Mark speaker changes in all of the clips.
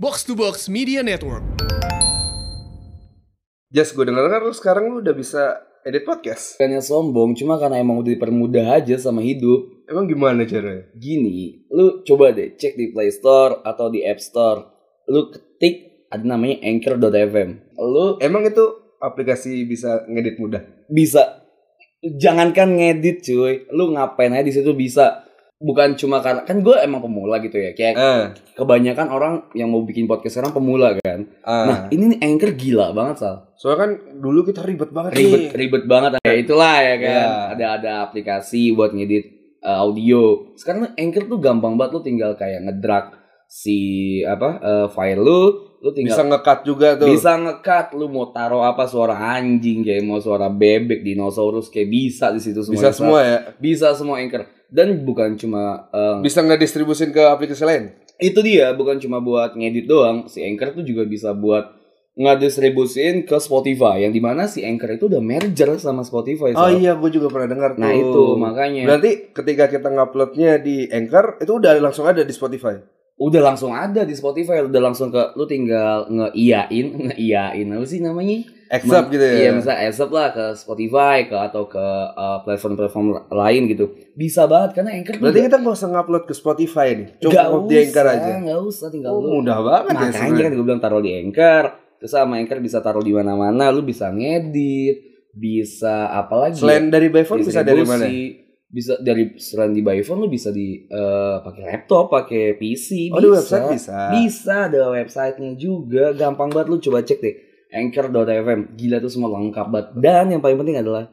Speaker 1: Box to Box Media Network.
Speaker 2: Jas, gue denger kan lu sekarang lu udah bisa edit podcast.
Speaker 3: Bukannya sombong, cuma karena emang udah dipermudah aja sama hidup.
Speaker 2: Emang gimana caranya?
Speaker 3: Gini, lu coba deh cek di Play Store atau di App Store. Lu ketik ada namanya anchor.fm. Lu
Speaker 2: Emang itu aplikasi bisa ngedit mudah?
Speaker 3: bisa jangankan ngedit cuy, lu ngapain aja di situ bisa. Bukan cuma karena kan gue emang pemula gitu ya.
Speaker 2: Eh,
Speaker 3: Kayak kebanyakan orang yang mau bikin podcast sekarang pemula kan.
Speaker 2: ah.
Speaker 3: Nah, ini nih anchor gila banget, Sal.
Speaker 2: soalnya kan dulu kita ribet banget
Speaker 3: ribet
Speaker 2: nih.
Speaker 3: ribet banget ya itulah ya kan
Speaker 2: Ya.
Speaker 3: ada ada aplikasi buat ngedit uh, audio sekarang tuh Anchor tuh gampang banget lu tinggal kayak ngedrag si apa uh, file lu
Speaker 2: Bisa
Speaker 3: lu tinggal
Speaker 2: ngekat juga tuh.
Speaker 3: bisa, ngekat lu mau taruh apa suara anjing kayak mau suara bebek dinosaurus kayak bisa di situ semua
Speaker 2: Bisa semua ya.
Speaker 3: bisa semua Anchor dan bukan cuma uh,
Speaker 2: Bisa ngedistribusin ke aplikasi lain.
Speaker 3: itu dia bukan cuma buat ngedit doang si Anchor tuh juga bisa buat ngedistribusin ke Spotify yang dimana si Anchor itu udah merger sama Spotify
Speaker 2: Oh
Speaker 3: Sal.
Speaker 2: iya, gue juga pernah dengar tuh.
Speaker 3: Nah itu makanya
Speaker 2: Berarti ketika kita nguploadnya di Anchor, itu udah langsung ada di Spotify.
Speaker 3: udah langsung ada di Spotify, udah langsung ke lu tinggal ngeiyain, ngeiyain apa sih namanya?
Speaker 2: Accept
Speaker 3: Men-
Speaker 2: gitu ya.
Speaker 3: Iya, misalnya accept lah ke Spotify ke atau ke uh, platform-platform lain gitu. Bisa banget karena Anchor
Speaker 2: Berarti kita nggak usah ngupload ke Spotify nih.
Speaker 3: Nggak
Speaker 2: Cukup di Anchor
Speaker 3: usah,
Speaker 2: aja.
Speaker 3: nggak usah tinggal
Speaker 2: Oh,
Speaker 3: lu.
Speaker 2: mudah banget ya
Speaker 3: Makanya
Speaker 2: sebenarnya.
Speaker 3: kan gue bilang taruh di Anchor. Terus sama Anchor bisa taruh di mana-mana, lu bisa ngedit, bisa apa lagi?
Speaker 2: Selain dari Byphone bisa dari mana?
Speaker 3: Bisa dari selain di by phone lu bisa di eh, pakai laptop, pakai PC,
Speaker 2: Oh, di website bisa.
Speaker 3: bisa ada websitenya juga gampang banget lu coba cek deh anchor.fm gila tuh semua lengkap banget dan yang paling penting adalah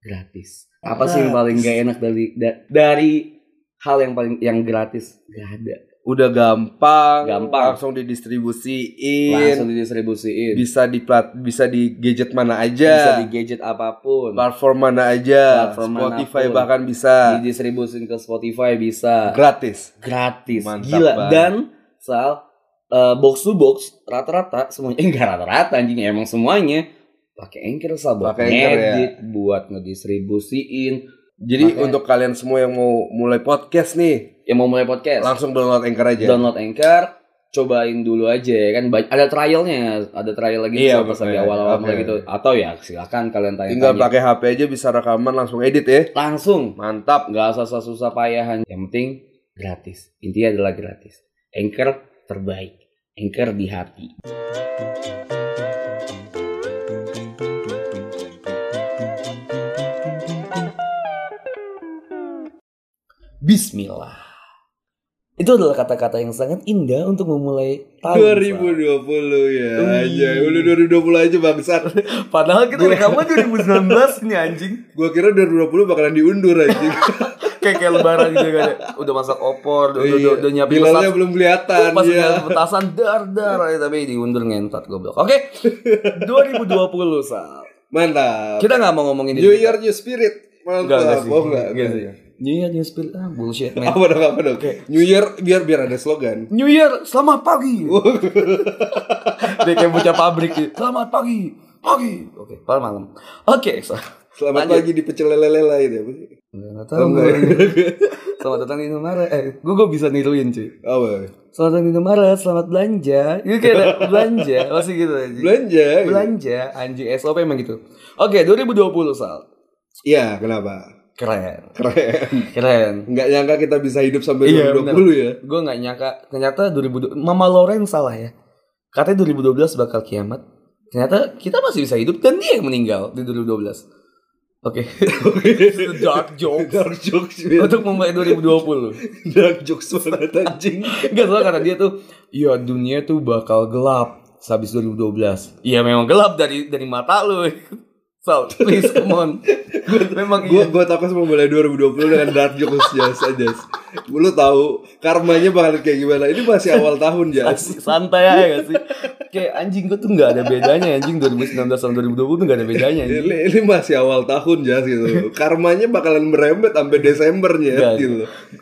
Speaker 3: gratis apa sih yang paling gak enak dari da- dari hal yang paling yang gratis gak ada
Speaker 2: Udah gampang,
Speaker 3: Gampang.
Speaker 2: langsung didistribusiin,
Speaker 3: langsung didistribusiin
Speaker 2: bisa di plat, bisa di gadget mana
Speaker 3: bisa
Speaker 2: aja,
Speaker 3: di gadget apapun
Speaker 2: platform mana aja,
Speaker 3: Platform
Speaker 2: Spotify
Speaker 3: manapun.
Speaker 2: bahkan bisa
Speaker 3: didistribusin ke Spotify bisa
Speaker 2: gratis.
Speaker 3: gratis
Speaker 2: Mantap
Speaker 3: gila
Speaker 2: banget.
Speaker 3: dan soal box to box rata-rata semuanya enggak rata-rata anjing emang semuanya pakai anchor sal buat
Speaker 2: Pakai Anchor, ya.
Speaker 3: ngedit buat ngedistribusiin
Speaker 2: Jadi
Speaker 3: Makanya-
Speaker 2: untuk kalian semua yang mau mulai podcast nih,
Speaker 3: yang Ya, mau mulai podcast
Speaker 2: langsung download Anchor aja.
Speaker 3: download anchor cobain dulu aja ya kan Ba- ada trialnya ada trial lagi
Speaker 2: Iya,
Speaker 3: pas lagi
Speaker 2: makanya.
Speaker 3: awal-awal
Speaker 2: Oke.
Speaker 3: mulai gitu atau ya silakan kalian
Speaker 2: Tinggal
Speaker 3: tanya-tanya
Speaker 2: pakai HP aja bisa rekaman langsung edit ya.
Speaker 3: langsung
Speaker 2: Mantap.
Speaker 3: nggak usah susah-susah payahan yang penting gratis intinya adalah gratis anchor terbaik anchor di hati Bismillah itu adalah kata-kata yang sangat indah untuk memulai tahun.
Speaker 2: 2020 ya.
Speaker 3: Wih.
Speaker 2: aja. Udah 2020 aja bangsat.
Speaker 3: Sal. Padahal kita rekaman 2019 nih anjing.
Speaker 2: Gua kira 2020 bakalan diundur anjing.
Speaker 3: Kayak kayak lebaran gitu kan. Iya. Udah masak opor, udah, udah, udah nyiapin
Speaker 2: Hilalnya
Speaker 3: pesat-
Speaker 2: belum kelihatan
Speaker 3: pas
Speaker 2: ya.
Speaker 3: udah petasan dar dar aja, tapi diundur ngentot goblok. Oke. 2020 Sal.
Speaker 2: Mantap.
Speaker 3: Kita nggak mau ngomongin
Speaker 2: New
Speaker 3: diri kita.
Speaker 2: Year New Spirit. Mantap.
Speaker 3: Enggak, enggak sih.
Speaker 2: Oh, enggak,
Speaker 3: Enggak
Speaker 2: enggak.
Speaker 3: sih. New Year New Spirit. Ah, bullshit man.
Speaker 2: Apa dong, apa dong? New Year biar biar ada slogan.
Speaker 3: New Year selamat pagi. Dia kayak bocah pabrik gitu. Selamat pagi. Pagi. Oke, padahal malam. Oke, Sal.
Speaker 2: Selamat
Speaker 3: Lanjut.
Speaker 2: pagi di pecel lele lele itu ya, apa sih?
Speaker 3: Nggak tahu gue. Selamat datang di Indomaret. Eh, gue gue bisa niruin cuy.
Speaker 2: Apa?
Speaker 3: Selamat datang di Indomaret, selamat belanja. Itu kayak ada belanja, masih gitu aja.
Speaker 2: Belanja.
Speaker 3: belanja anjing SOP emang gitu. Oke, 2020 Sal.
Speaker 2: Iya, kenapa?
Speaker 3: Keren.
Speaker 2: Keren.
Speaker 3: Keren.
Speaker 2: Enggak nyangka kita bisa hidup sampai
Speaker 3: Iya,
Speaker 2: 2020 ya.
Speaker 3: Gue nggak nyangka ternyata 2020 Mama Loren salah ya. Katanya 2012 bakal kiamat. Ternyata kita masih bisa hidup dan dia yang meninggal di 2012. Oke. It's a dark joke
Speaker 2: Dark jokes. Bill.
Speaker 3: untuk memulai 2020.
Speaker 2: Dark jokes banget anjing.
Speaker 3: Enggak salah kata dia tuh, ya dunia tuh bakal gelap sehabis 2012. Iya memang gelap dari dari mata lu. Sal, please come on. memang
Speaker 2: Gue gue takut sama mulai 2020 dengan dark jokes jas aja. Lu tahu karmanya bakal kayak gimana? Ini masih awal tahun jas.
Speaker 3: Asik, santai aja gak sih? Kayak anjing gue tuh gak ada bedanya anjing 2019 sama 2020 tuh gak ada bedanya anjing.
Speaker 2: Ini, ini masih awal tahun jas gitu. Karmanya bakalan merembet sampai Desembernya
Speaker 3: Iya.
Speaker 2: gitu.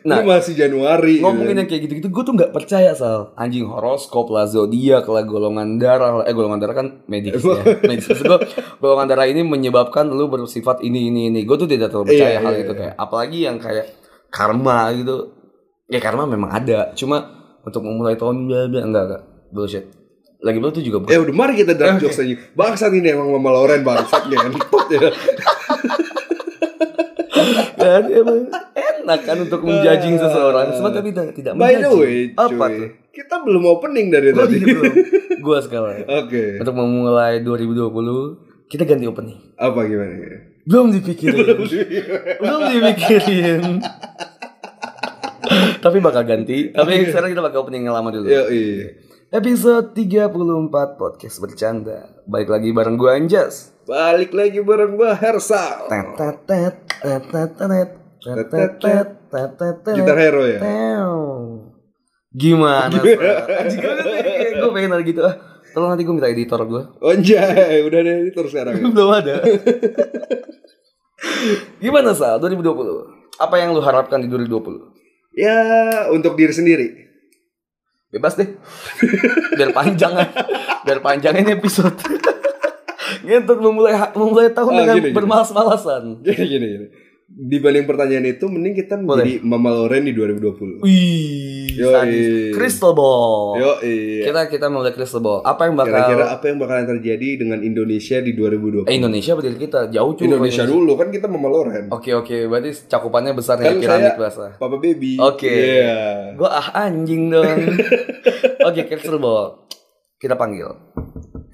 Speaker 3: Nah,
Speaker 2: ini masih Januari. gitu.
Speaker 3: Ngomongin yang kayak gitu-gitu gue tuh gak percaya Sal Anjing horoskop lah, zodiak lah, golongan darah lah Eh golongan darah kan medis ya medis. Maksud gua, golongan darah ini menyebabkan lu bersifat ini, ini, ini Gue tuh tidak terlalu percaya
Speaker 2: Iya,
Speaker 3: hal
Speaker 2: iya,
Speaker 3: itu kayak Apalagi yang kayak karma gitu Ya karma memang ada Cuma untuk memulai tahun bla bla enggak enggak
Speaker 4: bullshit. Lagi pula itu juga bukan.
Speaker 2: Eh udah mari kita dark jokes aja. Bangsat ini emang Mama Loren bangsat ngentot ya.
Speaker 4: kan emang enak kan untuk menjudging seseorang cuma kami tidak tidak
Speaker 2: By the
Speaker 4: menjudging.
Speaker 2: way, cuy,
Speaker 4: apa tuh
Speaker 2: kita belum opening dari
Speaker 4: Oh,
Speaker 2: tadi.
Speaker 4: iya,
Speaker 2: Oke,
Speaker 4: belum. gua sekarang untuk memulai 2020 kita ganti opening
Speaker 2: apa gimana? ya?
Speaker 4: belum dipikirin belum dipikirin tapi bakal ganti tapi sekarang kita bakal opening yang lama dulu
Speaker 2: Yo, iya.
Speaker 4: episode 34 podcast bercanda balik lagi bareng gua Anjas
Speaker 2: Balik lagi bareng gua Hersa.
Speaker 4: Tetetet, tetetet, tetetet, tetetet.
Speaker 2: Gitar hero ya.
Speaker 4: Teong. Gimana? gue pengen ada gitu ah. Tolong nanti gue minta editor gue.
Speaker 2: Onjay, Oh, iya, udah deh editor sekarang. ya.
Speaker 4: Belum ada. Gimana Sal 2020? Apa yang lu harapkan di 2020?
Speaker 2: Ya, untuk diri sendiri.
Speaker 4: Bebas deh. Biar panjang ah. Biar panjang ini episode. Ngentot memulai memulai tahun
Speaker 2: Ah,
Speaker 4: dengan
Speaker 2: gini, gini.
Speaker 4: bermalas-malasan.
Speaker 2: Jadi gini, gini. Dibanding pertanyaan itu mending kita menjadi Mama Loren di 2020.
Speaker 4: Wih,
Speaker 2: Yoi.
Speaker 4: sadis. Crystal ball.
Speaker 2: Yo, iya.
Speaker 4: Kita kita memulai crystal ball. Apa yang bakal
Speaker 2: Kira-kira apa yang bakalan terjadi dengan Indonesia di 2020?
Speaker 4: Eh, Indonesia berarti kita jauh cuy.
Speaker 2: Indonesia dulu kan kita Mama Loren.
Speaker 4: Hmm. Oke oke, berarti cakupannya besar
Speaker 2: Kan
Speaker 4: nih piramid
Speaker 2: saya-
Speaker 4: bahasa.
Speaker 2: Papa Baby.
Speaker 4: Oke.
Speaker 2: Iya.
Speaker 4: Gua ah anjing dong. oke, Crystal Ball. Kita panggil.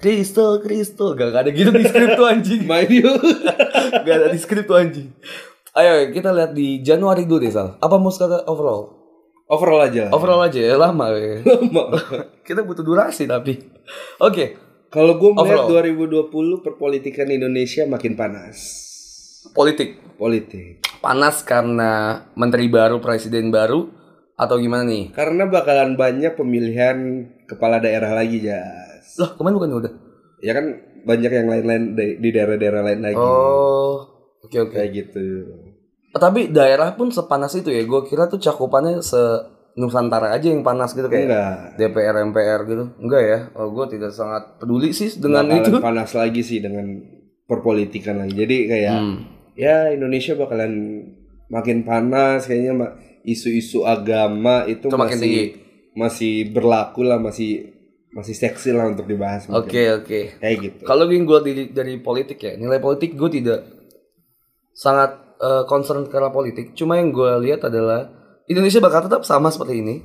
Speaker 4: Crystal, Crystal. Gak, gak ada gitu di skrip tuh anjing.
Speaker 2: Main yuk.
Speaker 4: Gak ada di skrip tuh anjing. Ayo kita lihat di Januari dulu deh Sal. Apa mau kata overall?
Speaker 2: Overall aja lah.
Speaker 4: Overall aja ya lama ya. kita butuh durasi tapi. Oke.
Speaker 2: Kalau gue melihat
Speaker 4: Overall.
Speaker 2: 2020 perpolitikan Indonesia makin panas.
Speaker 4: Politik.
Speaker 2: Politik.
Speaker 4: Panas karena menteri baru, presiden baru atau gimana nih?
Speaker 2: Karena bakalan banyak pemilihan kepala daerah lagi, Jas.
Speaker 4: Loh, kemarin bukan udah.
Speaker 2: Ya kan banyak yang lain-lain da- di daerah-daerah lain lagi.
Speaker 4: Oh. Oke oke.
Speaker 2: Kayak gitu.
Speaker 4: Tapi daerah pun sepanas itu ya. Gue kira tuh cakupannya se Nusantara aja yang panas gitu kayak
Speaker 2: Enggak.
Speaker 4: DPR MPR gitu. Enggak ya. Oh, gue tidak sangat peduli sih dengan
Speaker 2: Bakalan
Speaker 4: itu.
Speaker 2: panas lagi sih dengan perpolitikan lagi. Jadi kayak
Speaker 4: Hmm.
Speaker 2: ya Indonesia bakalan makin panas kayaknya ma- isu-isu agama itu,
Speaker 4: Itu
Speaker 2: masih
Speaker 4: makin tinggi.
Speaker 2: masih berlaku lah masih masih seksi lah untuk dibahas
Speaker 4: Oke
Speaker 2: mungkin.
Speaker 4: oke.
Speaker 2: kayak gitu
Speaker 4: Kalau gue gue dari, dari politik ya nilai politik gue tidak sangat eh, concern karena politik. Cuma yang gue lihat adalah Indonesia bakal tetap sama seperti ini.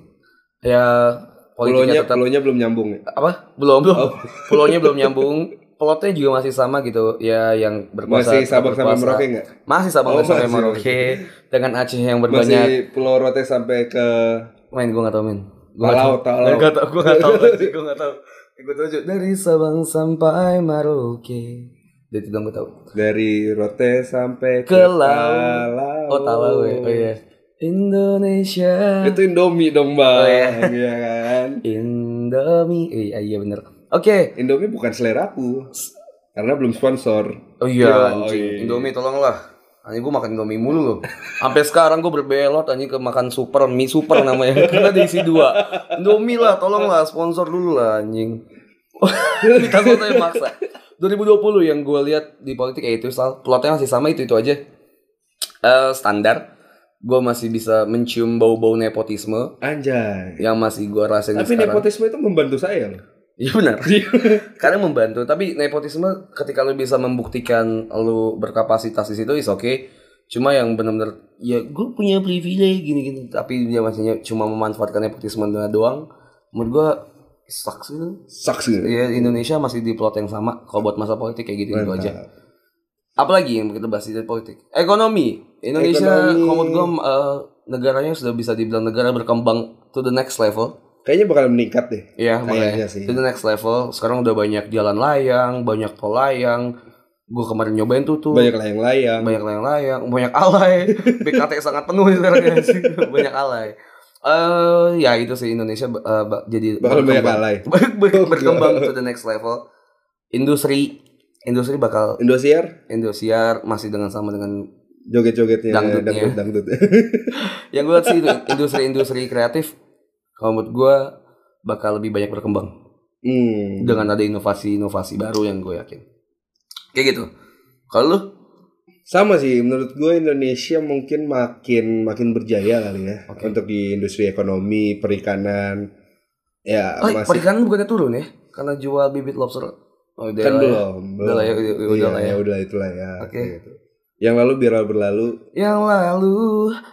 Speaker 4: Ya
Speaker 2: pulaunya
Speaker 4: politiknya tetap
Speaker 2: pulaunya belum nyambung ya
Speaker 4: apa? Belum belum. Pulaunya belum nyambung. Plotnya juga masih sama gitu. Ya yang
Speaker 2: masih
Speaker 4: berkuasa tetap
Speaker 2: Sabang sampai
Speaker 4: berkuasa.
Speaker 2: Merauke nggak
Speaker 4: Masih Sabang
Speaker 2: Oh,
Speaker 4: sampai
Speaker 2: masih.
Speaker 4: Merauke dengan Aceh yang berbanyak
Speaker 2: masih Pulau Rote sampai ke
Speaker 4: main gue gak tau main. Gue
Speaker 2: Palau Palau
Speaker 4: gak tau, gue gak tau lagi, gue gak tau. Gue tau aja, dari Sabang sampai Merauke. Dia tidak gue tau.
Speaker 2: dari Rote sampai
Speaker 4: Ke Laut.
Speaker 2: Palau.
Speaker 4: Oh tahu ya, oh iya. Indonesia.
Speaker 2: itu Indomie dong bang
Speaker 4: Oh, iya.
Speaker 2: Iya kan
Speaker 4: Indomie. Iya iya bener. Oke.
Speaker 2: Indomie bukan seleraku karena belum sponsor
Speaker 4: Oh
Speaker 2: Yo,
Speaker 4: iya, anjing.
Speaker 2: iya.
Speaker 4: Indomie tolonglah. Anjing gue makan Indomie mulu loh. Sampai sekarang gue berbelot anjing ke makan super mie super namanya. Karena diisi dua. Indomie lah, tolonglah sponsor dulu lah anjing. Kita soalnya maksa. 2020 yang gue lihat di politik ya itu Sal. plotnya masih sama itu itu aja. Eh, standar. Gue masih bisa mencium bau-bau nepotisme
Speaker 2: anjay
Speaker 4: yang masih gue rasain
Speaker 2: Tapi
Speaker 4: sekarang.
Speaker 2: nepotisme itu membantu saya loh.
Speaker 4: Iya benar. Karena membantu, tapi nepotisme ketika lu bisa membuktikan lu berkapasitas di situ is oke. Cuma yang benar-benar ya gue punya privilege gini-gini, tapi dia maksudnya cuma memanfaatkan nepotisme doang. Menurut gue sucks gitu.
Speaker 2: Saksi.
Speaker 4: Ya Indonesia masih di plot yang sama kalau buat masa politik kayak gitu gitu aja. Apalagi yang kita bahas dari politik? Ekonomi. Indonesia
Speaker 2: Ekonomi.
Speaker 4: kalau menurut gue negaranya sudah bisa dibilang negara berkembang to the next level.
Speaker 2: Kayaknya bakal meningkat deh.
Speaker 4: Iya,
Speaker 2: Kayaknya
Speaker 4: makanya
Speaker 2: sih.
Speaker 4: itu the next level. Sekarang udah banyak jalan layang, banyak tol layang. Gue kemarin nyobain tuh tuh
Speaker 2: Banyak layang-layang.
Speaker 4: banyak layang-layang, banyak alay. BKT sangat penuh nih sekarang ya. banyak alay. Eh ya itu sih Indonesia eh, ba- jadi
Speaker 2: Bakal banyak
Speaker 4: berkembang-
Speaker 2: alay.
Speaker 4: ber- berkembang to the next level. Industri industri bakal
Speaker 2: Indosiar,
Speaker 4: Indosiar masih dengan sama dengan
Speaker 2: joget-jogetnya
Speaker 4: Dangdutnya.
Speaker 2: dangdut dangdut.
Speaker 4: yang gue lihat sih itu, industri-industri kreatif kalau menurut gue bakal lebih banyak berkembang.
Speaker 2: hmm.
Speaker 4: dengan ada inovasi-inovasi baru yang gue yakin. Kayak gitu. Kalau lu?
Speaker 2: Sama sih menurut gue Indonesia mungkin makin makin berjaya kali ya untuk di industri ekonomi, perikanan, Ya,
Speaker 4: Oh,
Speaker 2: masih
Speaker 4: perikanan bukannya turun ya? Karena jual bibit lobster. Oh, udah
Speaker 2: kan
Speaker 4: lah ya.
Speaker 2: belum.
Speaker 4: Udah lah ya, udah-
Speaker 2: Iya,
Speaker 4: udah lah ya.
Speaker 2: udah itulah ya.
Speaker 4: Oke.
Speaker 2: kayak gitu. Yang lalu biar berlalu
Speaker 4: Yang lalu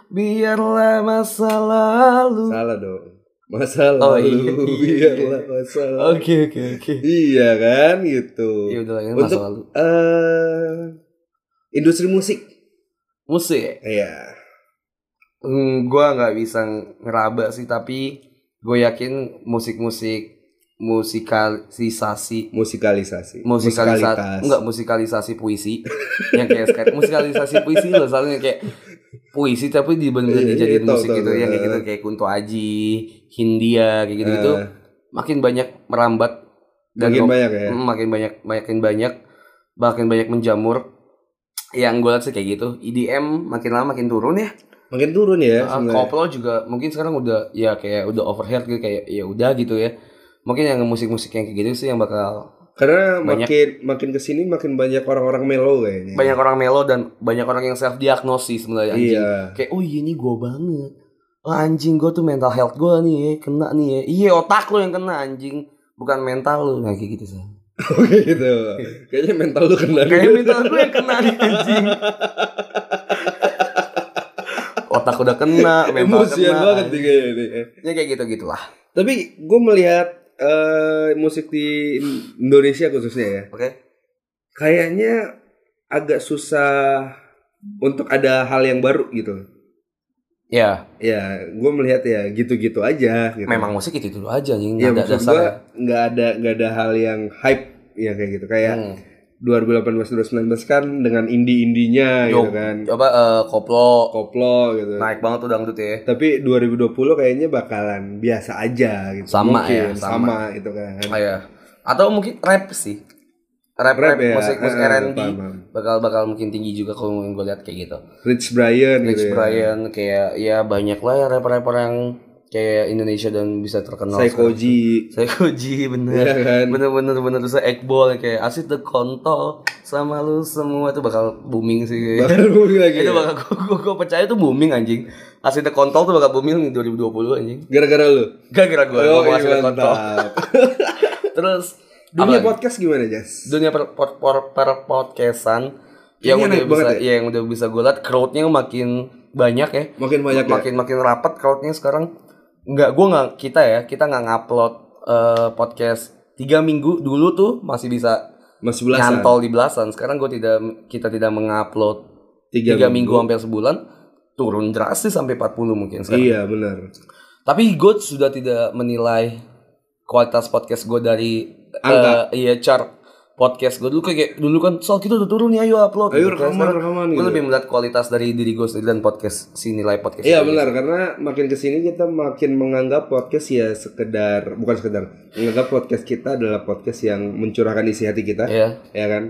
Speaker 4: biarlah masa lalu.
Speaker 2: salah dong. Masa
Speaker 4: Oh,
Speaker 2: lalu
Speaker 4: iya, iya.
Speaker 2: biarlah masa lalu.
Speaker 4: Oke oke oke.
Speaker 2: Iya kan gitu.
Speaker 4: Ya udah lah ya masa
Speaker 2: Untuk-
Speaker 4: lalu.
Speaker 2: Eh, industri musik.
Speaker 4: Musik. ya?
Speaker 2: Iya.
Speaker 4: Hmm, gua nggak bisa ngeraba sih tapi gue yakin musik-musik musikalisasi
Speaker 2: Musikalisasi.
Speaker 4: musikalisasi enggak musikalisasi puisi yang kayak sekarang musikalisasi puisi loh soalnya kayak puisi tapi
Speaker 2: Iya, iya,
Speaker 4: dibener-bener dijadiin
Speaker 2: tahu,
Speaker 4: musik
Speaker 2: tahu,
Speaker 4: gitu
Speaker 2: tahu.
Speaker 4: yang kayak gitu kayak Kunto Aji, Hindia kayak gitu gitu
Speaker 2: Eh.
Speaker 4: makin banyak merambat dan
Speaker 2: Makin
Speaker 4: kom-
Speaker 2: banyak ya.
Speaker 4: Mm, makin banyak makin banyak makin banyak menjamur yang gue lihat sih kayak gitu EDM makin lama makin turun ya
Speaker 2: Makin turun ya
Speaker 4: Ah,
Speaker 2: sebenarnya.
Speaker 4: koplo juga mungkin sekarang udah ya kayak udah overhead gitu kayak ya udah gitu ya mungkin yang musik-musik yang kayak gitu sih yang bakal
Speaker 2: Karena
Speaker 4: Banyak.
Speaker 2: makin makin kesini makin banyak orang-orang melo kayaknya.
Speaker 4: banyak orang melo dan banyak orang yang self diagnosis sebenarnya anjing.
Speaker 2: Iya.
Speaker 4: Kayak oh iya nih gue banget. Oh, anjing gue tuh mental health gue nih ya, kena nih ya. Iya otak lu yang kena anjing, bukan mental lu. Nah, kayak gitu sih.
Speaker 2: Oke gitu. Kayaknya mental lu kena.
Speaker 4: Kayak mental gue yang kena nih anjing. otak udah kena, mental
Speaker 2: Emosian
Speaker 4: kena.
Speaker 2: banget nih
Speaker 4: anjing.
Speaker 2: kayaknya nih.
Speaker 4: Ya kayak gitu-gitulah.
Speaker 2: Tapi gue melihat eh, musik di Indonesia khususnya ya,
Speaker 4: Oke.
Speaker 2: kayaknya agak susah untuk ada hal yang baru gitu.
Speaker 4: Ya,
Speaker 2: Ya, gue melihat ya gitu-gitu aja. Gitu.
Speaker 4: memang musik itu dulu aja anjing.
Speaker 2: Ya
Speaker 4: nada
Speaker 2: maksud
Speaker 4: dasar
Speaker 2: gue nggak ada nggak ada hal yang hype ya kayak gitu
Speaker 4: ya.
Speaker 2: kayak
Speaker 4: Hmm.
Speaker 2: 2018-2019 kan dengan indie-indinya
Speaker 4: Yo,
Speaker 2: gitu kan
Speaker 4: Coba eh, koplo
Speaker 2: koplo gitu
Speaker 4: naik banget tuh dangdut ya.
Speaker 2: tapi 2020 kayaknya bakalan biasa aja gitu
Speaker 4: Sama ya,
Speaker 2: Mungkin,
Speaker 4: sama.
Speaker 2: sama gitu kan
Speaker 4: Ah, ya. Atau mungkin rap sih. Rap,
Speaker 2: Rap
Speaker 4: rap,
Speaker 2: ya,
Speaker 4: musik musik
Speaker 2: ah,
Speaker 4: R&B
Speaker 2: paham, paham.
Speaker 4: bakal bakal mungkin tinggi juga kalau gue lihat kayak gitu.
Speaker 2: Rich Brian
Speaker 4: Rich
Speaker 2: gitu ya.
Speaker 4: Brian kayak ya banyak lah ya rapper-rapper yang kayak Indonesia dan bisa terkenal.
Speaker 2: Psychoji Iya
Speaker 4: Psychoji bener.
Speaker 2: kan
Speaker 4: Bener-bener bener terus Ekbol kayak asyik the kontol sama lu semua tuh bakal booming sih.
Speaker 2: baru lagi ya.
Speaker 4: itu bakal gua, gua, gua percaya itu booming anjing. Asyik the kontol tuh bakal booming 2020 anjing.
Speaker 2: gara-gara lu
Speaker 4: Gak kira gua
Speaker 2: Oh, iya,
Speaker 4: ngomong asyik the kontol.
Speaker 2: mantap
Speaker 4: Terus
Speaker 2: dunia
Speaker 4: apa lagi?
Speaker 2: podcast gimana Jas?
Speaker 4: dunia per, per, per- per- podcastan
Speaker 2: Kayaknya
Speaker 4: yang udah
Speaker 2: naik
Speaker 4: bisa
Speaker 2: banget ya?
Speaker 4: ya, yang udah bisa gue liat crowdnya makin banyak ya
Speaker 2: makin banyak ya?
Speaker 4: makin makin rapat crowdnya sekarang nggak gue nggak kita ya kita nggak ngupload eh, podcast tiga minggu dulu tuh masih bisa
Speaker 2: masih belasan
Speaker 4: nyantol di belasan sekarang gue tidak kita tidak mengupload
Speaker 2: tiga,
Speaker 4: tiga, minggu. hampir sebulan turun drastis sampai 40 mungkin sekarang
Speaker 2: iya benar
Speaker 4: tapi gue sudah tidak menilai kualitas podcast gue dari
Speaker 2: Angka.
Speaker 4: eh, iya chart podcast gue dulu kayak dulu kan soal kita udah turun nih ayo upload.
Speaker 2: Ayo
Speaker 4: Kayak
Speaker 2: rekaman,
Speaker 4: sekarang
Speaker 2: rekaman
Speaker 4: Gue
Speaker 2: gitu.
Speaker 4: lebih melihat kualitas dari diri gue sendiri dan podcast si nilai podcast.
Speaker 2: Iya
Speaker 4: itu.
Speaker 2: benar karena makin kesini kita makin menganggap podcast ya sekedar bukan sekedar menganggap podcast kita adalah podcast yang mencurahkan isi hati kita
Speaker 4: Iya.
Speaker 2: ya kan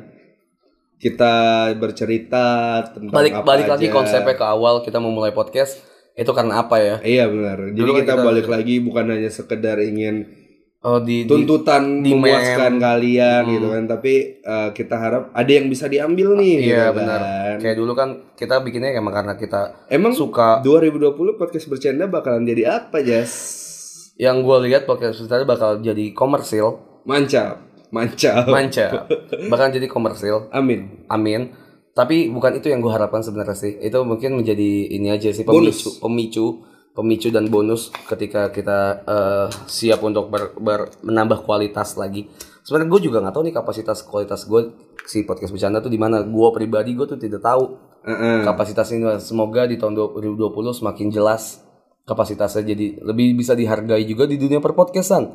Speaker 2: kita bercerita tentang
Speaker 4: Balik
Speaker 2: apa
Speaker 4: balik
Speaker 2: aja.
Speaker 4: lagi konsepnya ke awal kita memulai podcast itu karena apa ya?
Speaker 2: iya benar jadi
Speaker 4: Dulu kan
Speaker 2: kita,
Speaker 4: kita-
Speaker 2: balik lagi bukan hanya sekedar ingin
Speaker 4: Oh di, di-
Speaker 2: tuntutan
Speaker 4: di-
Speaker 2: memuaskan
Speaker 4: demand.
Speaker 2: kalian
Speaker 4: Hmm.
Speaker 2: gitu kan tapi eh, kita harap ada yang bisa diambil nih
Speaker 4: Iya
Speaker 2: gitu
Speaker 4: benar.
Speaker 2: kan.
Speaker 4: Kayak dulu kan kita bikinnya emang karena kita
Speaker 2: emang
Speaker 4: suka.
Speaker 2: 2020 podcast bercanda bakalan jadi apa Jas?
Speaker 4: Yang gue lihat podcast kita bakal jadi komersil,
Speaker 2: Mancap, mancap.
Speaker 4: manca, bakal jadi komersil.
Speaker 2: Amin.
Speaker 4: Amin. Tapi bukan itu yang gue harapkan sebenarnya sih. Itu mungkin menjadi ini aja sih pemicu,
Speaker 2: Bonus.
Speaker 4: pemicu, pemicu dan bonus ketika kita eh, siap untuk ber- ber- menambah kualitas lagi. Sebenarnya gue juga nggak tahu nih kapasitas kualitas gue si podcast bercanda tuh di mana. Gue pribadi gue tuh tidak tahu
Speaker 2: Heeh.
Speaker 4: kapasitasnya. Semoga di tahun 2020 semakin jelas kapasitasnya jadi lebih bisa dihargai juga di dunia perpodcastan.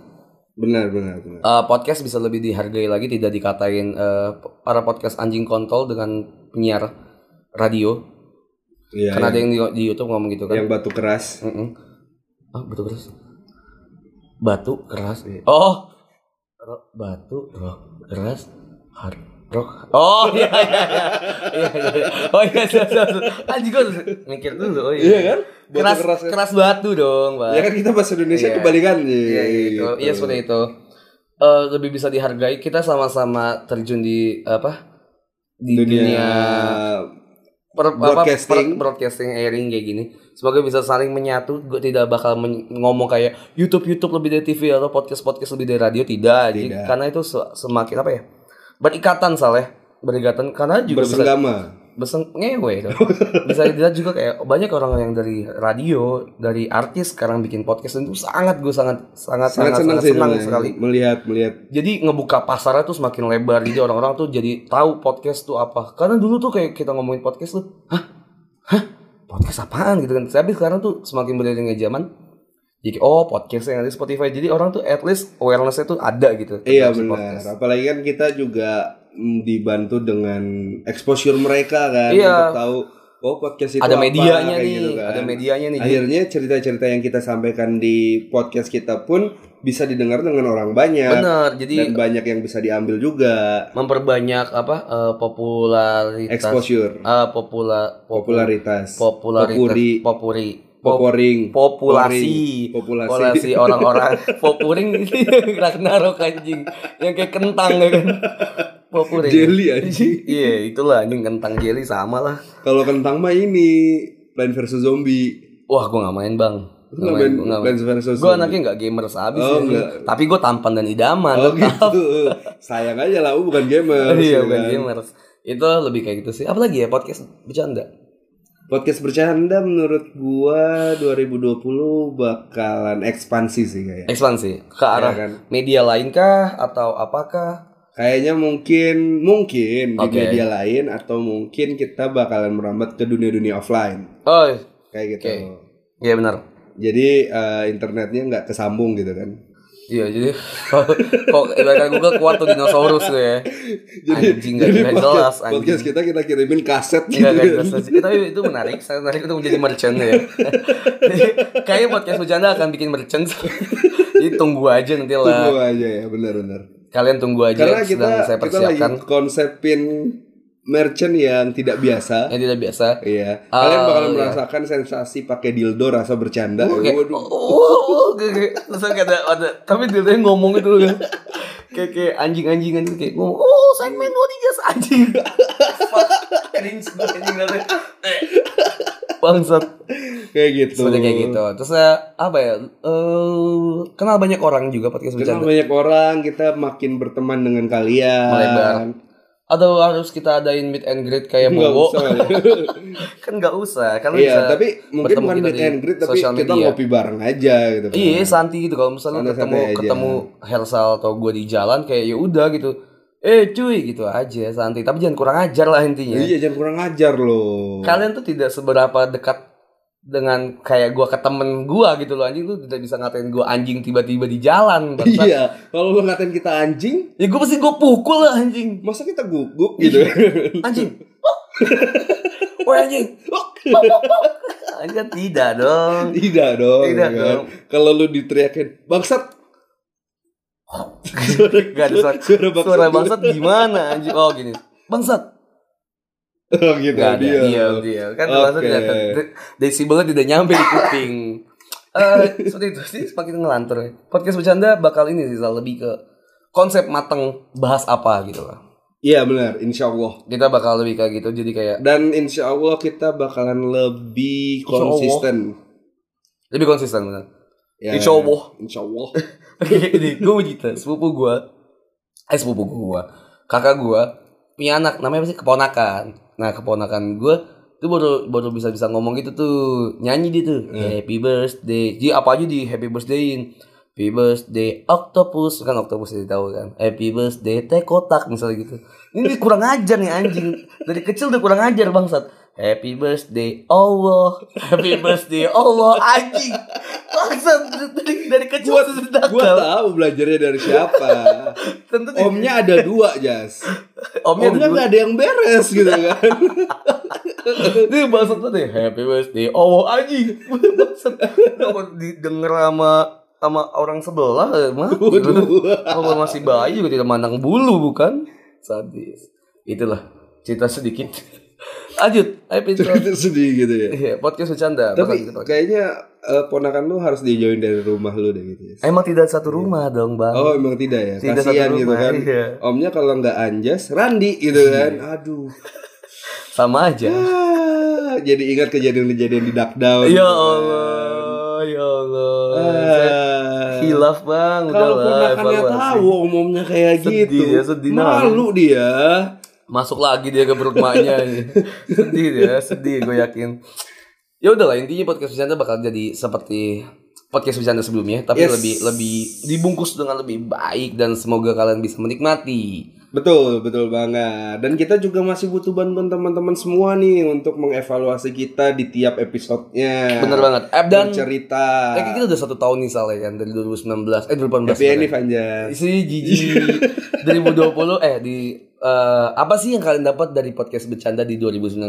Speaker 2: Benar, benar, benar.
Speaker 4: Eh, podcast bisa lebih dihargai lagi tidak dikatain eh, para podcast anjing kontol dengan penyiar radio
Speaker 2: Iya.
Speaker 4: karena ada
Speaker 2: yang,
Speaker 4: yang di, di YouTube ngomong gitu kan
Speaker 2: yang batu keras.
Speaker 4: Mm-mm. ah batu keras batu keras oh Ro- batu rock keras hard rock oh iya iya iya Iya, iya, iya. oh iya siap, siap, siap. anjing gue mikir dulu oh iya,
Speaker 2: Iya kan? Batu
Speaker 4: keras
Speaker 2: keras
Speaker 4: keras,
Speaker 2: kan?
Speaker 4: batu dong pak
Speaker 2: Ya kan kita bahasa Indonesia
Speaker 4: Iya.
Speaker 2: kebalikan.
Speaker 4: Iya gitu. Iya seperti itu. Eh, lebih bisa dihargai kita sama-sama terjun di apa? Di dunia,
Speaker 2: Dunia
Speaker 4: per- apa,
Speaker 2: Broadcasting.
Speaker 4: per- broadcasting airing kayak gini sebagai bisa saling menyatu gue tidak bakal men- ngomong kayak YouTube YouTube lebih dari TV atau podcast podcast lebih dari radio tidak, anjing.
Speaker 2: Tidak.
Speaker 4: karena itu se- semakin apa ya berikatan saleh berikatan karena juga bisa-
Speaker 2: bersenggama
Speaker 4: beseng ngewe itu. bisa dilihat juga kayak banyak orang yang dari radio dari artis sekarang bikin podcast dan itu sangat gue sangat sangat
Speaker 2: sangat senang
Speaker 4: sangat sangat,
Speaker 2: sih
Speaker 4: senang
Speaker 2: sebenarnya.
Speaker 4: sekali
Speaker 2: melihat melihat
Speaker 4: jadi ngebuka pasarnya tuh semakin lebar jadi orang-orang tuh jadi tahu podcast tuh apa karena dulu tuh kayak kita ngomongin podcast tuh hah hah podcast apaan gitu kan tapi sekarang tuh semakin beriringnya zaman jadi oh podcast yang ada di Spotify jadi orang tuh at least awarenessnya tuh ada gitu
Speaker 2: Iya
Speaker 4: tentang si
Speaker 2: benar.
Speaker 4: podcast.
Speaker 2: Apalagi kan kita juga mm, dibantu dengan exposure mereka kan
Speaker 4: Iya.
Speaker 2: untuk tahu oh podcast itu
Speaker 4: ada
Speaker 2: apa,
Speaker 4: medianya
Speaker 2: kayak
Speaker 4: nih
Speaker 2: gitu kan.
Speaker 4: ada medianya nih Jadi-
Speaker 2: Akhirnya cerita-cerita yang kita sampaikan di podcast kita pun bisa didengar dengan orang banyak
Speaker 4: benar jadi
Speaker 2: dan banyak yang bisa diambil juga
Speaker 4: memperbanyak apa eh, popularitas
Speaker 2: exposure,
Speaker 4: eh, popula popularitas
Speaker 2: popularitas,
Speaker 4: popularitas
Speaker 2: popuri,
Speaker 4: popuri Pop-
Speaker 2: poporing, poring,
Speaker 4: populasi
Speaker 2: populasi.
Speaker 4: populasi orang-orang popuring Ragnarok anjing yang kayak kentang ya kan popuring
Speaker 2: Jelly, anjing.
Speaker 4: iya itulah anjing kentang jelly sama lah
Speaker 2: Kalau kentang mah ini Plan versus Zombie.
Speaker 4: wah gua nggak main bang
Speaker 2: Lu nggak main
Speaker 4: gua nggak
Speaker 2: Plants vs. Zombie?
Speaker 4: Gua anaknya nggak gamers abis
Speaker 2: Oh,
Speaker 4: anjing.
Speaker 2: nggak.
Speaker 4: tapi gua tampan dan idaman
Speaker 2: Oh
Speaker 4: lu tahu.
Speaker 2: gitu. Sayang aja lah, lu bukan gamer. ya
Speaker 4: iya bukan
Speaker 2: kan?
Speaker 4: gamers itu lebih kayak gitu sih apalagi ya podcast bercanda
Speaker 2: Podcast bercanda menurut gua 2020 bakalan ekspansi sih kayaknya.
Speaker 4: ekspansi ke arah
Speaker 2: kan?
Speaker 4: media lain kah atau apakah
Speaker 2: Kayaknya mungkin mungkin di
Speaker 4: Oke.
Speaker 2: media lain atau mungkin kita bakalan merambat ke dunia-dunia offline
Speaker 4: oh
Speaker 2: kayak gitu.
Speaker 4: Oke. iya benar
Speaker 2: Jadi eh, internetnya nggak kesambung gitu kan.
Speaker 4: iya jadi kok ibaratkan Google kuat tuh dinosaurus tuh ya
Speaker 2: Jadi
Speaker 4: anjing nggak nggak jelas
Speaker 2: podcast, podcast
Speaker 4: anjing
Speaker 2: kita kita kirimin kaset gitu
Speaker 4: Nggak, nggak
Speaker 2: kan.
Speaker 4: jelas. Eh, tapi itu menarik saya menarik untuk menjadi merchant ya Jadi, kayaknya podcast bercanda akan bikin merchant jadi tunggu aja nanti lah
Speaker 2: Tunggu aja ya, benar-benar.
Speaker 4: kalian tunggu aja
Speaker 2: Karena kita
Speaker 4: sedang saya
Speaker 2: kita lagi
Speaker 4: persiapkan
Speaker 2: konsepin merchant yang tidak biasa.
Speaker 4: yang tidak biasa
Speaker 2: Iya.
Speaker 4: Ah,
Speaker 2: Kalian bakal
Speaker 4: Eh, iya.
Speaker 2: merasakan sensasi pakai dildo rasa bercanda.
Speaker 4: Oke.
Speaker 2: Waduh.
Speaker 4: Oh, oh, oh, kayak- kayak- terus kayak ada, ada tapi dia tuh ngomong itu kan. Kayak kayak anjing-anjingan gitu kayak ngomong, "Oh, segmen lo digas anjing." Fuck, Cringe banget anjing nanti. Eh. Bangsat.
Speaker 2: Kayak gitu.
Speaker 4: Seperti kayak gitu. Terus ya, apa ya? Eh, kenal banyak orang juga podcast
Speaker 2: Kenal
Speaker 4: bercanda.
Speaker 2: banyak orang, kita makin berteman dengan kalian.
Speaker 4: Melebar. Atau harus kita adain meet and greet kayak
Speaker 2: Nggak
Speaker 4: Bowo?
Speaker 2: usah.
Speaker 4: kan nggak usah, kan
Speaker 2: Iya,
Speaker 4: bisa
Speaker 2: tapi mungkin
Speaker 4: bertemu
Speaker 2: bukan
Speaker 4: kita
Speaker 2: meet
Speaker 4: di
Speaker 2: and greet, tapi
Speaker 4: sosial
Speaker 2: kita
Speaker 4: media.
Speaker 2: ngopi bareng aja gitu. kan.
Speaker 4: Iya, santai gitu kalau misalnya
Speaker 2: Santai-santai
Speaker 4: ketemu
Speaker 2: aja.
Speaker 4: ketemu Hersal atau gue di jalan kayak ya udah gitu. Eh cuy gitu aja santai, tapi jangan kurang ajar lah intinya.
Speaker 2: Iya, jangan kurang ajar loh.
Speaker 4: Kalian tuh tidak seberapa dekat dengan kayak gua ke temen gua gitu loh anjing tuh tidak bisa ngatain gua anjing tiba-tiba di jalan bangsat.
Speaker 2: Iya, kalau lu ngatain kita anjing,
Speaker 4: Ya gua pasti gua pukul lah anjing.
Speaker 2: masa kita gugup gitu?
Speaker 4: Anjing. Oh. Woi anjing. Oh, oh, oh, oh. Anjing tidak dong.
Speaker 2: Tidak dong. ya
Speaker 4: Tidak
Speaker 2: kan?
Speaker 4: dong.
Speaker 2: Kalau lu diteriakin, bangsat.
Speaker 4: Gak ada suara,
Speaker 2: Suara bangsat
Speaker 4: suara
Speaker 2: dulu.
Speaker 4: bangsat gimana anjing? Oh gini. Bangsat.
Speaker 2: Oh, gitu
Speaker 4: Gak ada,
Speaker 2: dia.
Speaker 4: diam, diam. Kan termasuk
Speaker 2: Oke.
Speaker 4: tidak ter- desibelnya tidak nyampe di kuping. Eh, seperti itu sih semakin ngelantur. ya. Podcast bercanda bakal ini sih Zal, lebih ke konsep mateng bahas apa gitu lah.
Speaker 2: Iya benar, insya Allah.
Speaker 4: Kita bakal lebih kayak gitu jadi kayak
Speaker 2: Dan insya Allah kita bakalan lebih
Speaker 4: Insya Allah.
Speaker 2: konsisten.
Speaker 4: lebih konsisten benar.
Speaker 2: Ya,
Speaker 4: Insya Allah.
Speaker 2: Insya Allah.
Speaker 4: Oke, ini gue cerita sepupu gue, eh sepupu gue, kakak gue punya anak namanya apa sih keponakan. Nah keponakan gue tuh baru baru bisa bisa ngomong gitu tuh nyanyi dia tuh
Speaker 2: Iya.
Speaker 4: Happy Birthday. Jadi apa aja di Happy Birthdayin. Happy birthday octopus kan octopus yang tahu kan. Happy birthday teh kotak misalnya gitu. Ini kurang ajar nih anjing. Dari kecil udah kurang ajar bangsat. Happy birthday Allah. Happy birthday Allah anjing. Bangsat dari, dari kecil sudah
Speaker 2: Gua tahu belajarnya dari siapa.
Speaker 4: tentu tidak.
Speaker 2: Omnya ada dua jas.
Speaker 4: omnya
Speaker 2: Omnya
Speaker 4: dulu
Speaker 2: nggak ada yang beres gitu kan.
Speaker 4: itu bahasa tuh deh happy birthday oh anjing bahasa denger sama sama orang sebelah eh, mah kalau masih bayi juga tidak mandang bulu bukan sadis itulah cerita sedikit lanjut ayo pintar
Speaker 2: Itu sedih gitu ya.
Speaker 4: Iya, podcast bercanda
Speaker 2: Tapi
Speaker 4: Bakal gitu.
Speaker 2: kayaknya eh, ponakan lu harus dijauhin dari rumah lu deh gitu. Jas.
Speaker 4: emang tidak satu rumah dong bang
Speaker 2: Oh emang tidak ya,
Speaker 4: Tidak satu
Speaker 2: kasihan
Speaker 4: rumah,
Speaker 2: gitu kan.
Speaker 4: iya.
Speaker 2: Omnya kalau nggak anjas, Randi gitu kan. Aduh.
Speaker 4: sama aja
Speaker 2: Ah, jadi ingat kejadian-kejadian di Duck Down.
Speaker 4: Ya Allah, ya Allah. Saya
Speaker 2: Ah.
Speaker 4: Hilaf bang, udah
Speaker 2: Kalau ponakannya tahu omongnya kayak
Speaker 4: Sedih
Speaker 2: gitu.
Speaker 4: ya, sedih, nah.
Speaker 2: Malu dia.
Speaker 4: Masuk lagi dia ke perut maknya ini. sedih dia, sedih gue yakin. Ya udahlah intinya podcast bercanda bakal jadi seperti podcast bercanda sebelumnya, tapi
Speaker 2: Yes.
Speaker 4: lebih lebih dibungkus dengan lebih baik dan semoga kalian bisa menikmati.
Speaker 2: Betul, betul banget. Dan kita juga masih butuh bantuan teman-teman semua nih untuk mengevaluasi kita di tiap episodenya.
Speaker 4: Bener banget. Eh, dan
Speaker 2: Ya. cerita.
Speaker 4: eh, kita udah satu tahun nih Saleh kan dari 2019,
Speaker 2: Tapi
Speaker 4: eh 2018.
Speaker 2: ini
Speaker 4: sebenarnya.
Speaker 2: Fanja.
Speaker 4: Isi Gigi 2020 eh di eh, apa sih yang kalian dapat dari podcast bercanda di 2019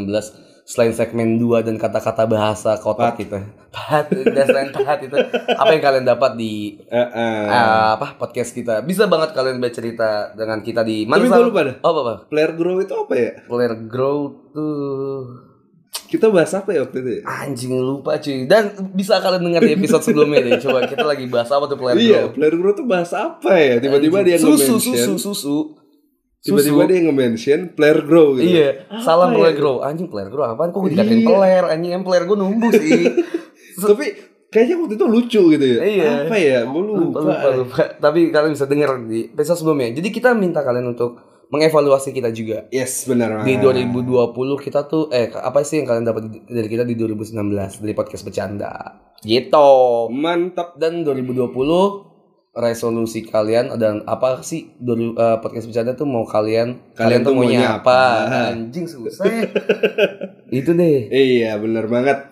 Speaker 4: selain segmen 2 dan kata-kata bahasa kotak Iya, kita. Pahat dan selain pahat itu apa yang kalian dapat di
Speaker 2: Eh, eh.
Speaker 4: eh, apa podcast kita? Bisa banget kalian bercerita dengan kita di mana
Speaker 2: Tapi
Speaker 4: Sal?
Speaker 2: gue lupa dah.
Speaker 4: Oh, apa, apa?
Speaker 2: Player grow itu apa ya?
Speaker 4: Player grow tuh
Speaker 2: Kita bahas apa ya waktu itu? ya?
Speaker 4: anjing lupa cuy. Dan bisa kalian dengar di episode sebelumnya deh. Coba kita lagi bahas apa tuh player
Speaker 2: Iya,
Speaker 4: grow.
Speaker 2: player grow tuh bahas apa ya? Tiba-tiba dia
Speaker 4: susu,
Speaker 2: nge-mention.
Speaker 4: susu, susu.
Speaker 2: Tiba-tiba
Speaker 4: Susu.
Speaker 2: dia nge-mention player grow gitu.
Speaker 4: Iya, salam player grow. Anjing player grow apaan? Kok gue
Speaker 2: Iya.
Speaker 4: dikatain player? Anjing em player gue numbuh sih.
Speaker 2: Tapi kayaknya waktu itu lucu gitu ya.
Speaker 4: Iya.
Speaker 2: Apa ya? Gue
Speaker 4: lupa, eh. lupa, lupa. Tapi kalian bisa denger di episode sebelumnya. Jadi kita minta kalian untuk mengevaluasi kita juga.
Speaker 2: Yes, benar.
Speaker 4: Di
Speaker 2: banget.
Speaker 4: 2020 kita tuh eh apa sih yang kalian dapat dari kita di 2019 dari podcast bercanda. Gitu.
Speaker 2: Mantap.
Speaker 4: Dan 2020 resolusi kalian dan apa sih dari eh, podcast bercanda tuh mau kalian kalian, tuh maunya apa? Anjing susah. ya. Itu deh.
Speaker 2: Iya, benar banget.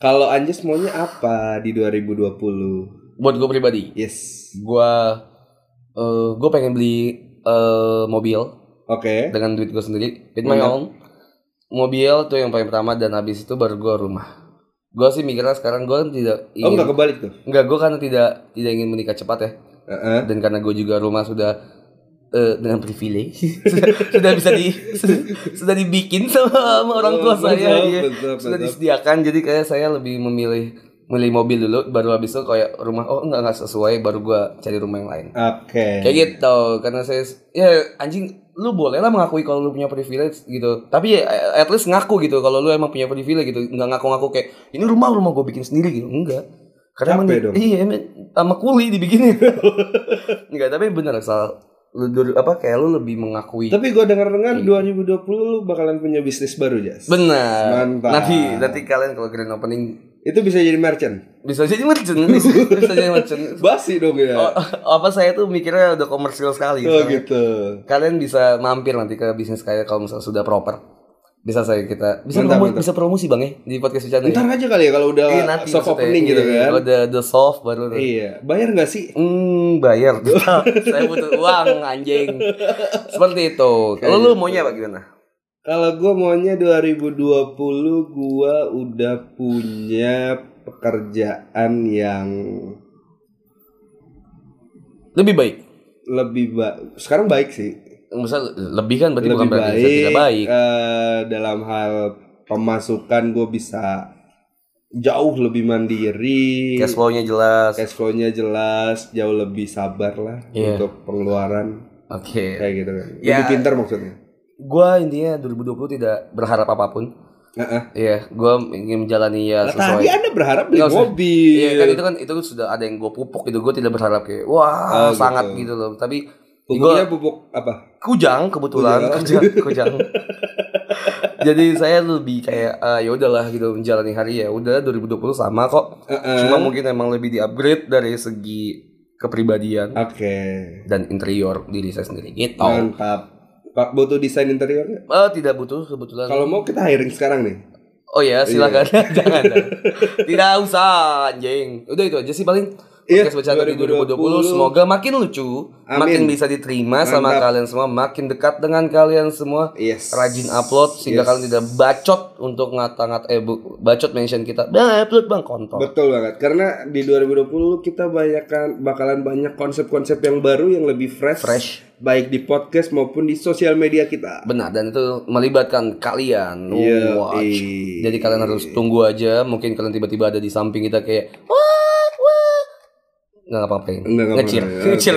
Speaker 2: Kalau Anjas maunya apa di 2020?
Speaker 4: buat gue pribadi
Speaker 2: Yes.
Speaker 4: gue eh gue pengen beli eh mobil
Speaker 2: Oke.
Speaker 4: dengan duit gue sendiri with my own mobil tuh yang paling pertama dan habis itu baru gue rumah gue sih mikirnya sekarang gue tidak
Speaker 2: Oh,
Speaker 4: ingin
Speaker 2: nggak kebalik tuh.
Speaker 4: nggak gue karena tidak tidak ingin menikah cepat ya
Speaker 2: Heeh.
Speaker 4: dan karena gue juga rumah sudah eh, dengan privilege sudah, sudah bisa di sudah dibikin sama, sama orang tua
Speaker 2: Betul,
Speaker 4: saya
Speaker 2: betul,
Speaker 4: iya.
Speaker 2: betul, betul.
Speaker 4: sudah disediakan jadi kayak saya lebih memilih milih mobil dulu baru habis itu kayak rumah oh enggak enggak sesuai baru gue cari rumah yang lain
Speaker 2: Oke.
Speaker 4: kayak gitu karena saya ya anjing lu boleh lah mengakui kalau lu punya privilege gitu tapi ya at least ngaku gitu kalau lu emang punya privilege gitu nggak ngaku-ngaku kayak ini rumah rumah gue bikin sendiri gitu enggak karena emang
Speaker 2: Capek
Speaker 4: di-
Speaker 2: dong.
Speaker 4: iya emang sama kuli dibikinin enggak tapi bener soal lu dulu- apa kayak lu lebih mengakui
Speaker 2: Tapi gue
Speaker 4: Iya.
Speaker 2: dengar-dengar 2020 lu bakalan punya bisnis baru, Jas.
Speaker 4: benar
Speaker 2: Mantap.
Speaker 4: nanti nanti kalian kalau grand opening
Speaker 2: Itu bisa jadi merchant.
Speaker 4: bisa jadi merchant bisa, bisa jadi merchant
Speaker 2: Basi dong ya.
Speaker 4: Oh, apa saya tuh mikirnya udah komersil sekali
Speaker 2: Oh,
Speaker 4: soalnya.
Speaker 2: gitu.
Speaker 4: kalian bisa mampir nanti ke bisnis kalian kalau misalnya sudah proper bisa saya kita bisa
Speaker 2: Mantap,
Speaker 4: promo-
Speaker 2: mantap.
Speaker 4: bisa promosi bang ya di podcast bercanda ya?
Speaker 2: Ntar aja kali ya kalau udah
Speaker 4: Iya, nanti
Speaker 2: soft
Speaker 4: maksudnya.
Speaker 2: opening gitu
Speaker 4: Iya,
Speaker 2: kan.
Speaker 4: kalau udah the soft baru
Speaker 2: Iya. Bayar nggak sih?
Speaker 4: hmm bayar saya butuh uang anjing seperti itu kalau lu maunya apa gimana
Speaker 2: Kalau gue maunya 2020 gue udah punya pekerjaan yang
Speaker 4: lebih baik
Speaker 2: lebih baik. Sekarang baik sih.
Speaker 4: misal lebih kan berarti bukan
Speaker 2: lebih
Speaker 4: berarti
Speaker 2: baik.
Speaker 4: bisa tidak baik
Speaker 2: eh, dalam hal pemasukan gue bisa jauh lebih mandiri.
Speaker 4: cash flow-nya jelas oke
Speaker 2: Iya. Cash flow-nya jelas, jauh lebih sabar lah
Speaker 4: Iya.
Speaker 2: untuk pengeluaran kayak gitu kan. Lebih
Speaker 4: Ya.
Speaker 2: pintar maksudnya.
Speaker 4: gua intinya 2020 tidak berharap apapun
Speaker 2: Heeh.
Speaker 4: iya gua ingin menjalani ya
Speaker 2: Lah,
Speaker 4: sesuai
Speaker 2: Nah, tadi Anda berharap beli
Speaker 4: Nggak usah.
Speaker 2: mobil.
Speaker 4: Iya kan itu kan itu sudah ada yang gue pupuk gitu gue tidak berharap kayak wah
Speaker 2: Ah, gitu.
Speaker 4: sangat gitu loh tapi
Speaker 2: Pupuknya
Speaker 4: gue
Speaker 2: pupuk apa?
Speaker 4: kujang kebetulan kujang kujang jadi saya lebih kayak ah, ya udahlah gitu menjalani hari ya udah 2020 sama kok cuma mungkin emang lebih di upgrade dari segi kepribadian
Speaker 2: Oke.
Speaker 4: dan interior diri saya sendiri gitu
Speaker 2: Mantap. Pak butuh desain interior nggak?
Speaker 4: Eh, tidak butuh kebetulan
Speaker 2: Kalau mau kita hiring sekarang nih.
Speaker 4: oh ya
Speaker 2: Iya.
Speaker 4: silakan jangan tidak usah anjing udah itu aja sih paling
Speaker 2: Iya,
Speaker 4: podcast bercanda di
Speaker 2: 2020.
Speaker 4: 2020 semoga makin lucu
Speaker 2: Amin.
Speaker 4: makin bisa diterima sama
Speaker 2: Mantap.
Speaker 4: kalian semua makin dekat dengan kalian semua
Speaker 2: Yes.
Speaker 4: rajin upload
Speaker 2: Yes.
Speaker 4: sehingga kalian tidak bacot untuk ngata-ngat eh bu- bacot mention kita bang upload bang kontol
Speaker 2: Betul banget. Karena di 2020 kita banyakkan bakalan banyak konsep-konsep yang baru yang lebih fresh.
Speaker 4: Fresh.
Speaker 2: Baik di podcast maupun di sosial media kita.
Speaker 4: benar dan itu melibatkan kalian
Speaker 2: Iya,
Speaker 4: watch
Speaker 2: iya.
Speaker 4: jadi kalian harus tunggu aja mungkin kalian tiba-tiba ada di samping kita kayak wah wah nggak apa-apain
Speaker 2: Nggak ngapa-ngapain. ya.
Speaker 4: ngecil
Speaker 2: Oke.
Speaker 4: ngecil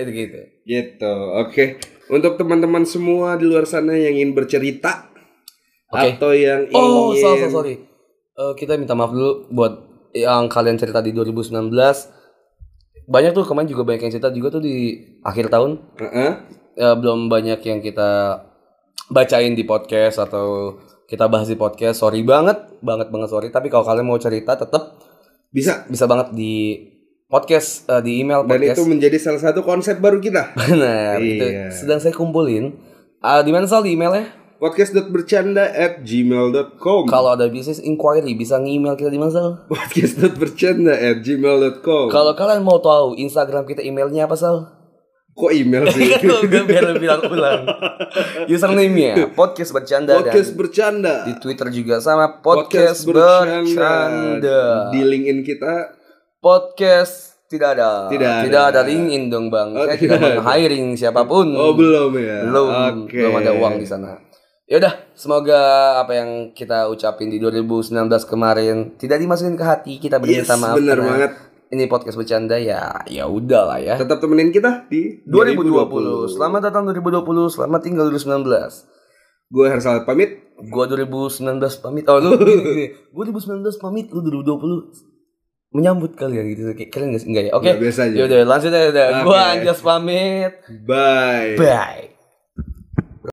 Speaker 4: itu gitu
Speaker 2: Gitu. Oke. Untuk teman-teman semua di luar sana yang ingin bercerita
Speaker 4: Oke.
Speaker 2: atau yang ingin
Speaker 4: Oh, salah, salah, sorry. Eh, kita minta maaf dulu buat yang kalian cerita di 2019. Banyak tuh kemarin juga banyak yang cerita juga tuh di akhir tahun.
Speaker 2: Heeh.
Speaker 4: Ya, belum banyak yang kita bacain di podcast atau kita bahas di podcast. Sorry banget, banget banget sorry. Tapi kalau kalian mau cerita tetap
Speaker 2: bisa
Speaker 4: bisa banget di podcast eh, di email
Speaker 2: dan itu
Speaker 4: podcast.
Speaker 2: menjadi salah satu konsep baru kita
Speaker 4: Benar, itu
Speaker 2: Iya.
Speaker 4: sedang saya kumpulin. Ah, di mana sal di emailnya?
Speaker 2: podcast.bercanda at gmail.com
Speaker 4: Kalau ada business inquiry bisa ngemail kita di mana sal?
Speaker 2: podcast.bercanda at gmail.com
Speaker 4: Kalau kalian mau tahu Instagram kita emailnya apa Sal?
Speaker 2: kok email sih
Speaker 4: Gue biar lebih bilang ulang. Username-nya podcast bercanda
Speaker 2: podcast
Speaker 4: dan
Speaker 2: bercanda
Speaker 4: di Twitter juga sama podcast, bercanda.
Speaker 2: di linkin kita
Speaker 4: Podcast tidak ada.
Speaker 2: Tidak ada.
Speaker 4: ada linkin dong Bang.
Speaker 2: Oh,
Speaker 4: Saya
Speaker 2: tidak
Speaker 4: tidak mau hiring siapapun.
Speaker 2: oh belum ya
Speaker 4: Hmm. Belum,
Speaker 2: Oke.
Speaker 4: belum ada uang di sana. Ya udah, semoga apa yang kita ucapin di 2019 kemarin tidak dimasukin ke hati
Speaker 2: yes
Speaker 4: kita berminta maaf.
Speaker 2: benar
Speaker 4: karena
Speaker 2: banget
Speaker 4: Ini podcast bercanda ya, ya udahlah ya.
Speaker 2: tetap temenin kita di
Speaker 4: 2020. Selamat datang 2020, selamat tinggal 2019.
Speaker 2: gue Hersal pamit
Speaker 4: Gua 2019 pamit. Oh lu gini, gini. Gua 2019 pamit, lu 2020 menyambut kalian gitu. Kayak Kalian nggak- nggak ya? Oke.
Speaker 2: Nggak biasa aja.
Speaker 4: Yaudah, lanjut aja. udah. Gua
Speaker 2: Oke.
Speaker 4: Anjas pamit.
Speaker 2: bye
Speaker 4: Bye.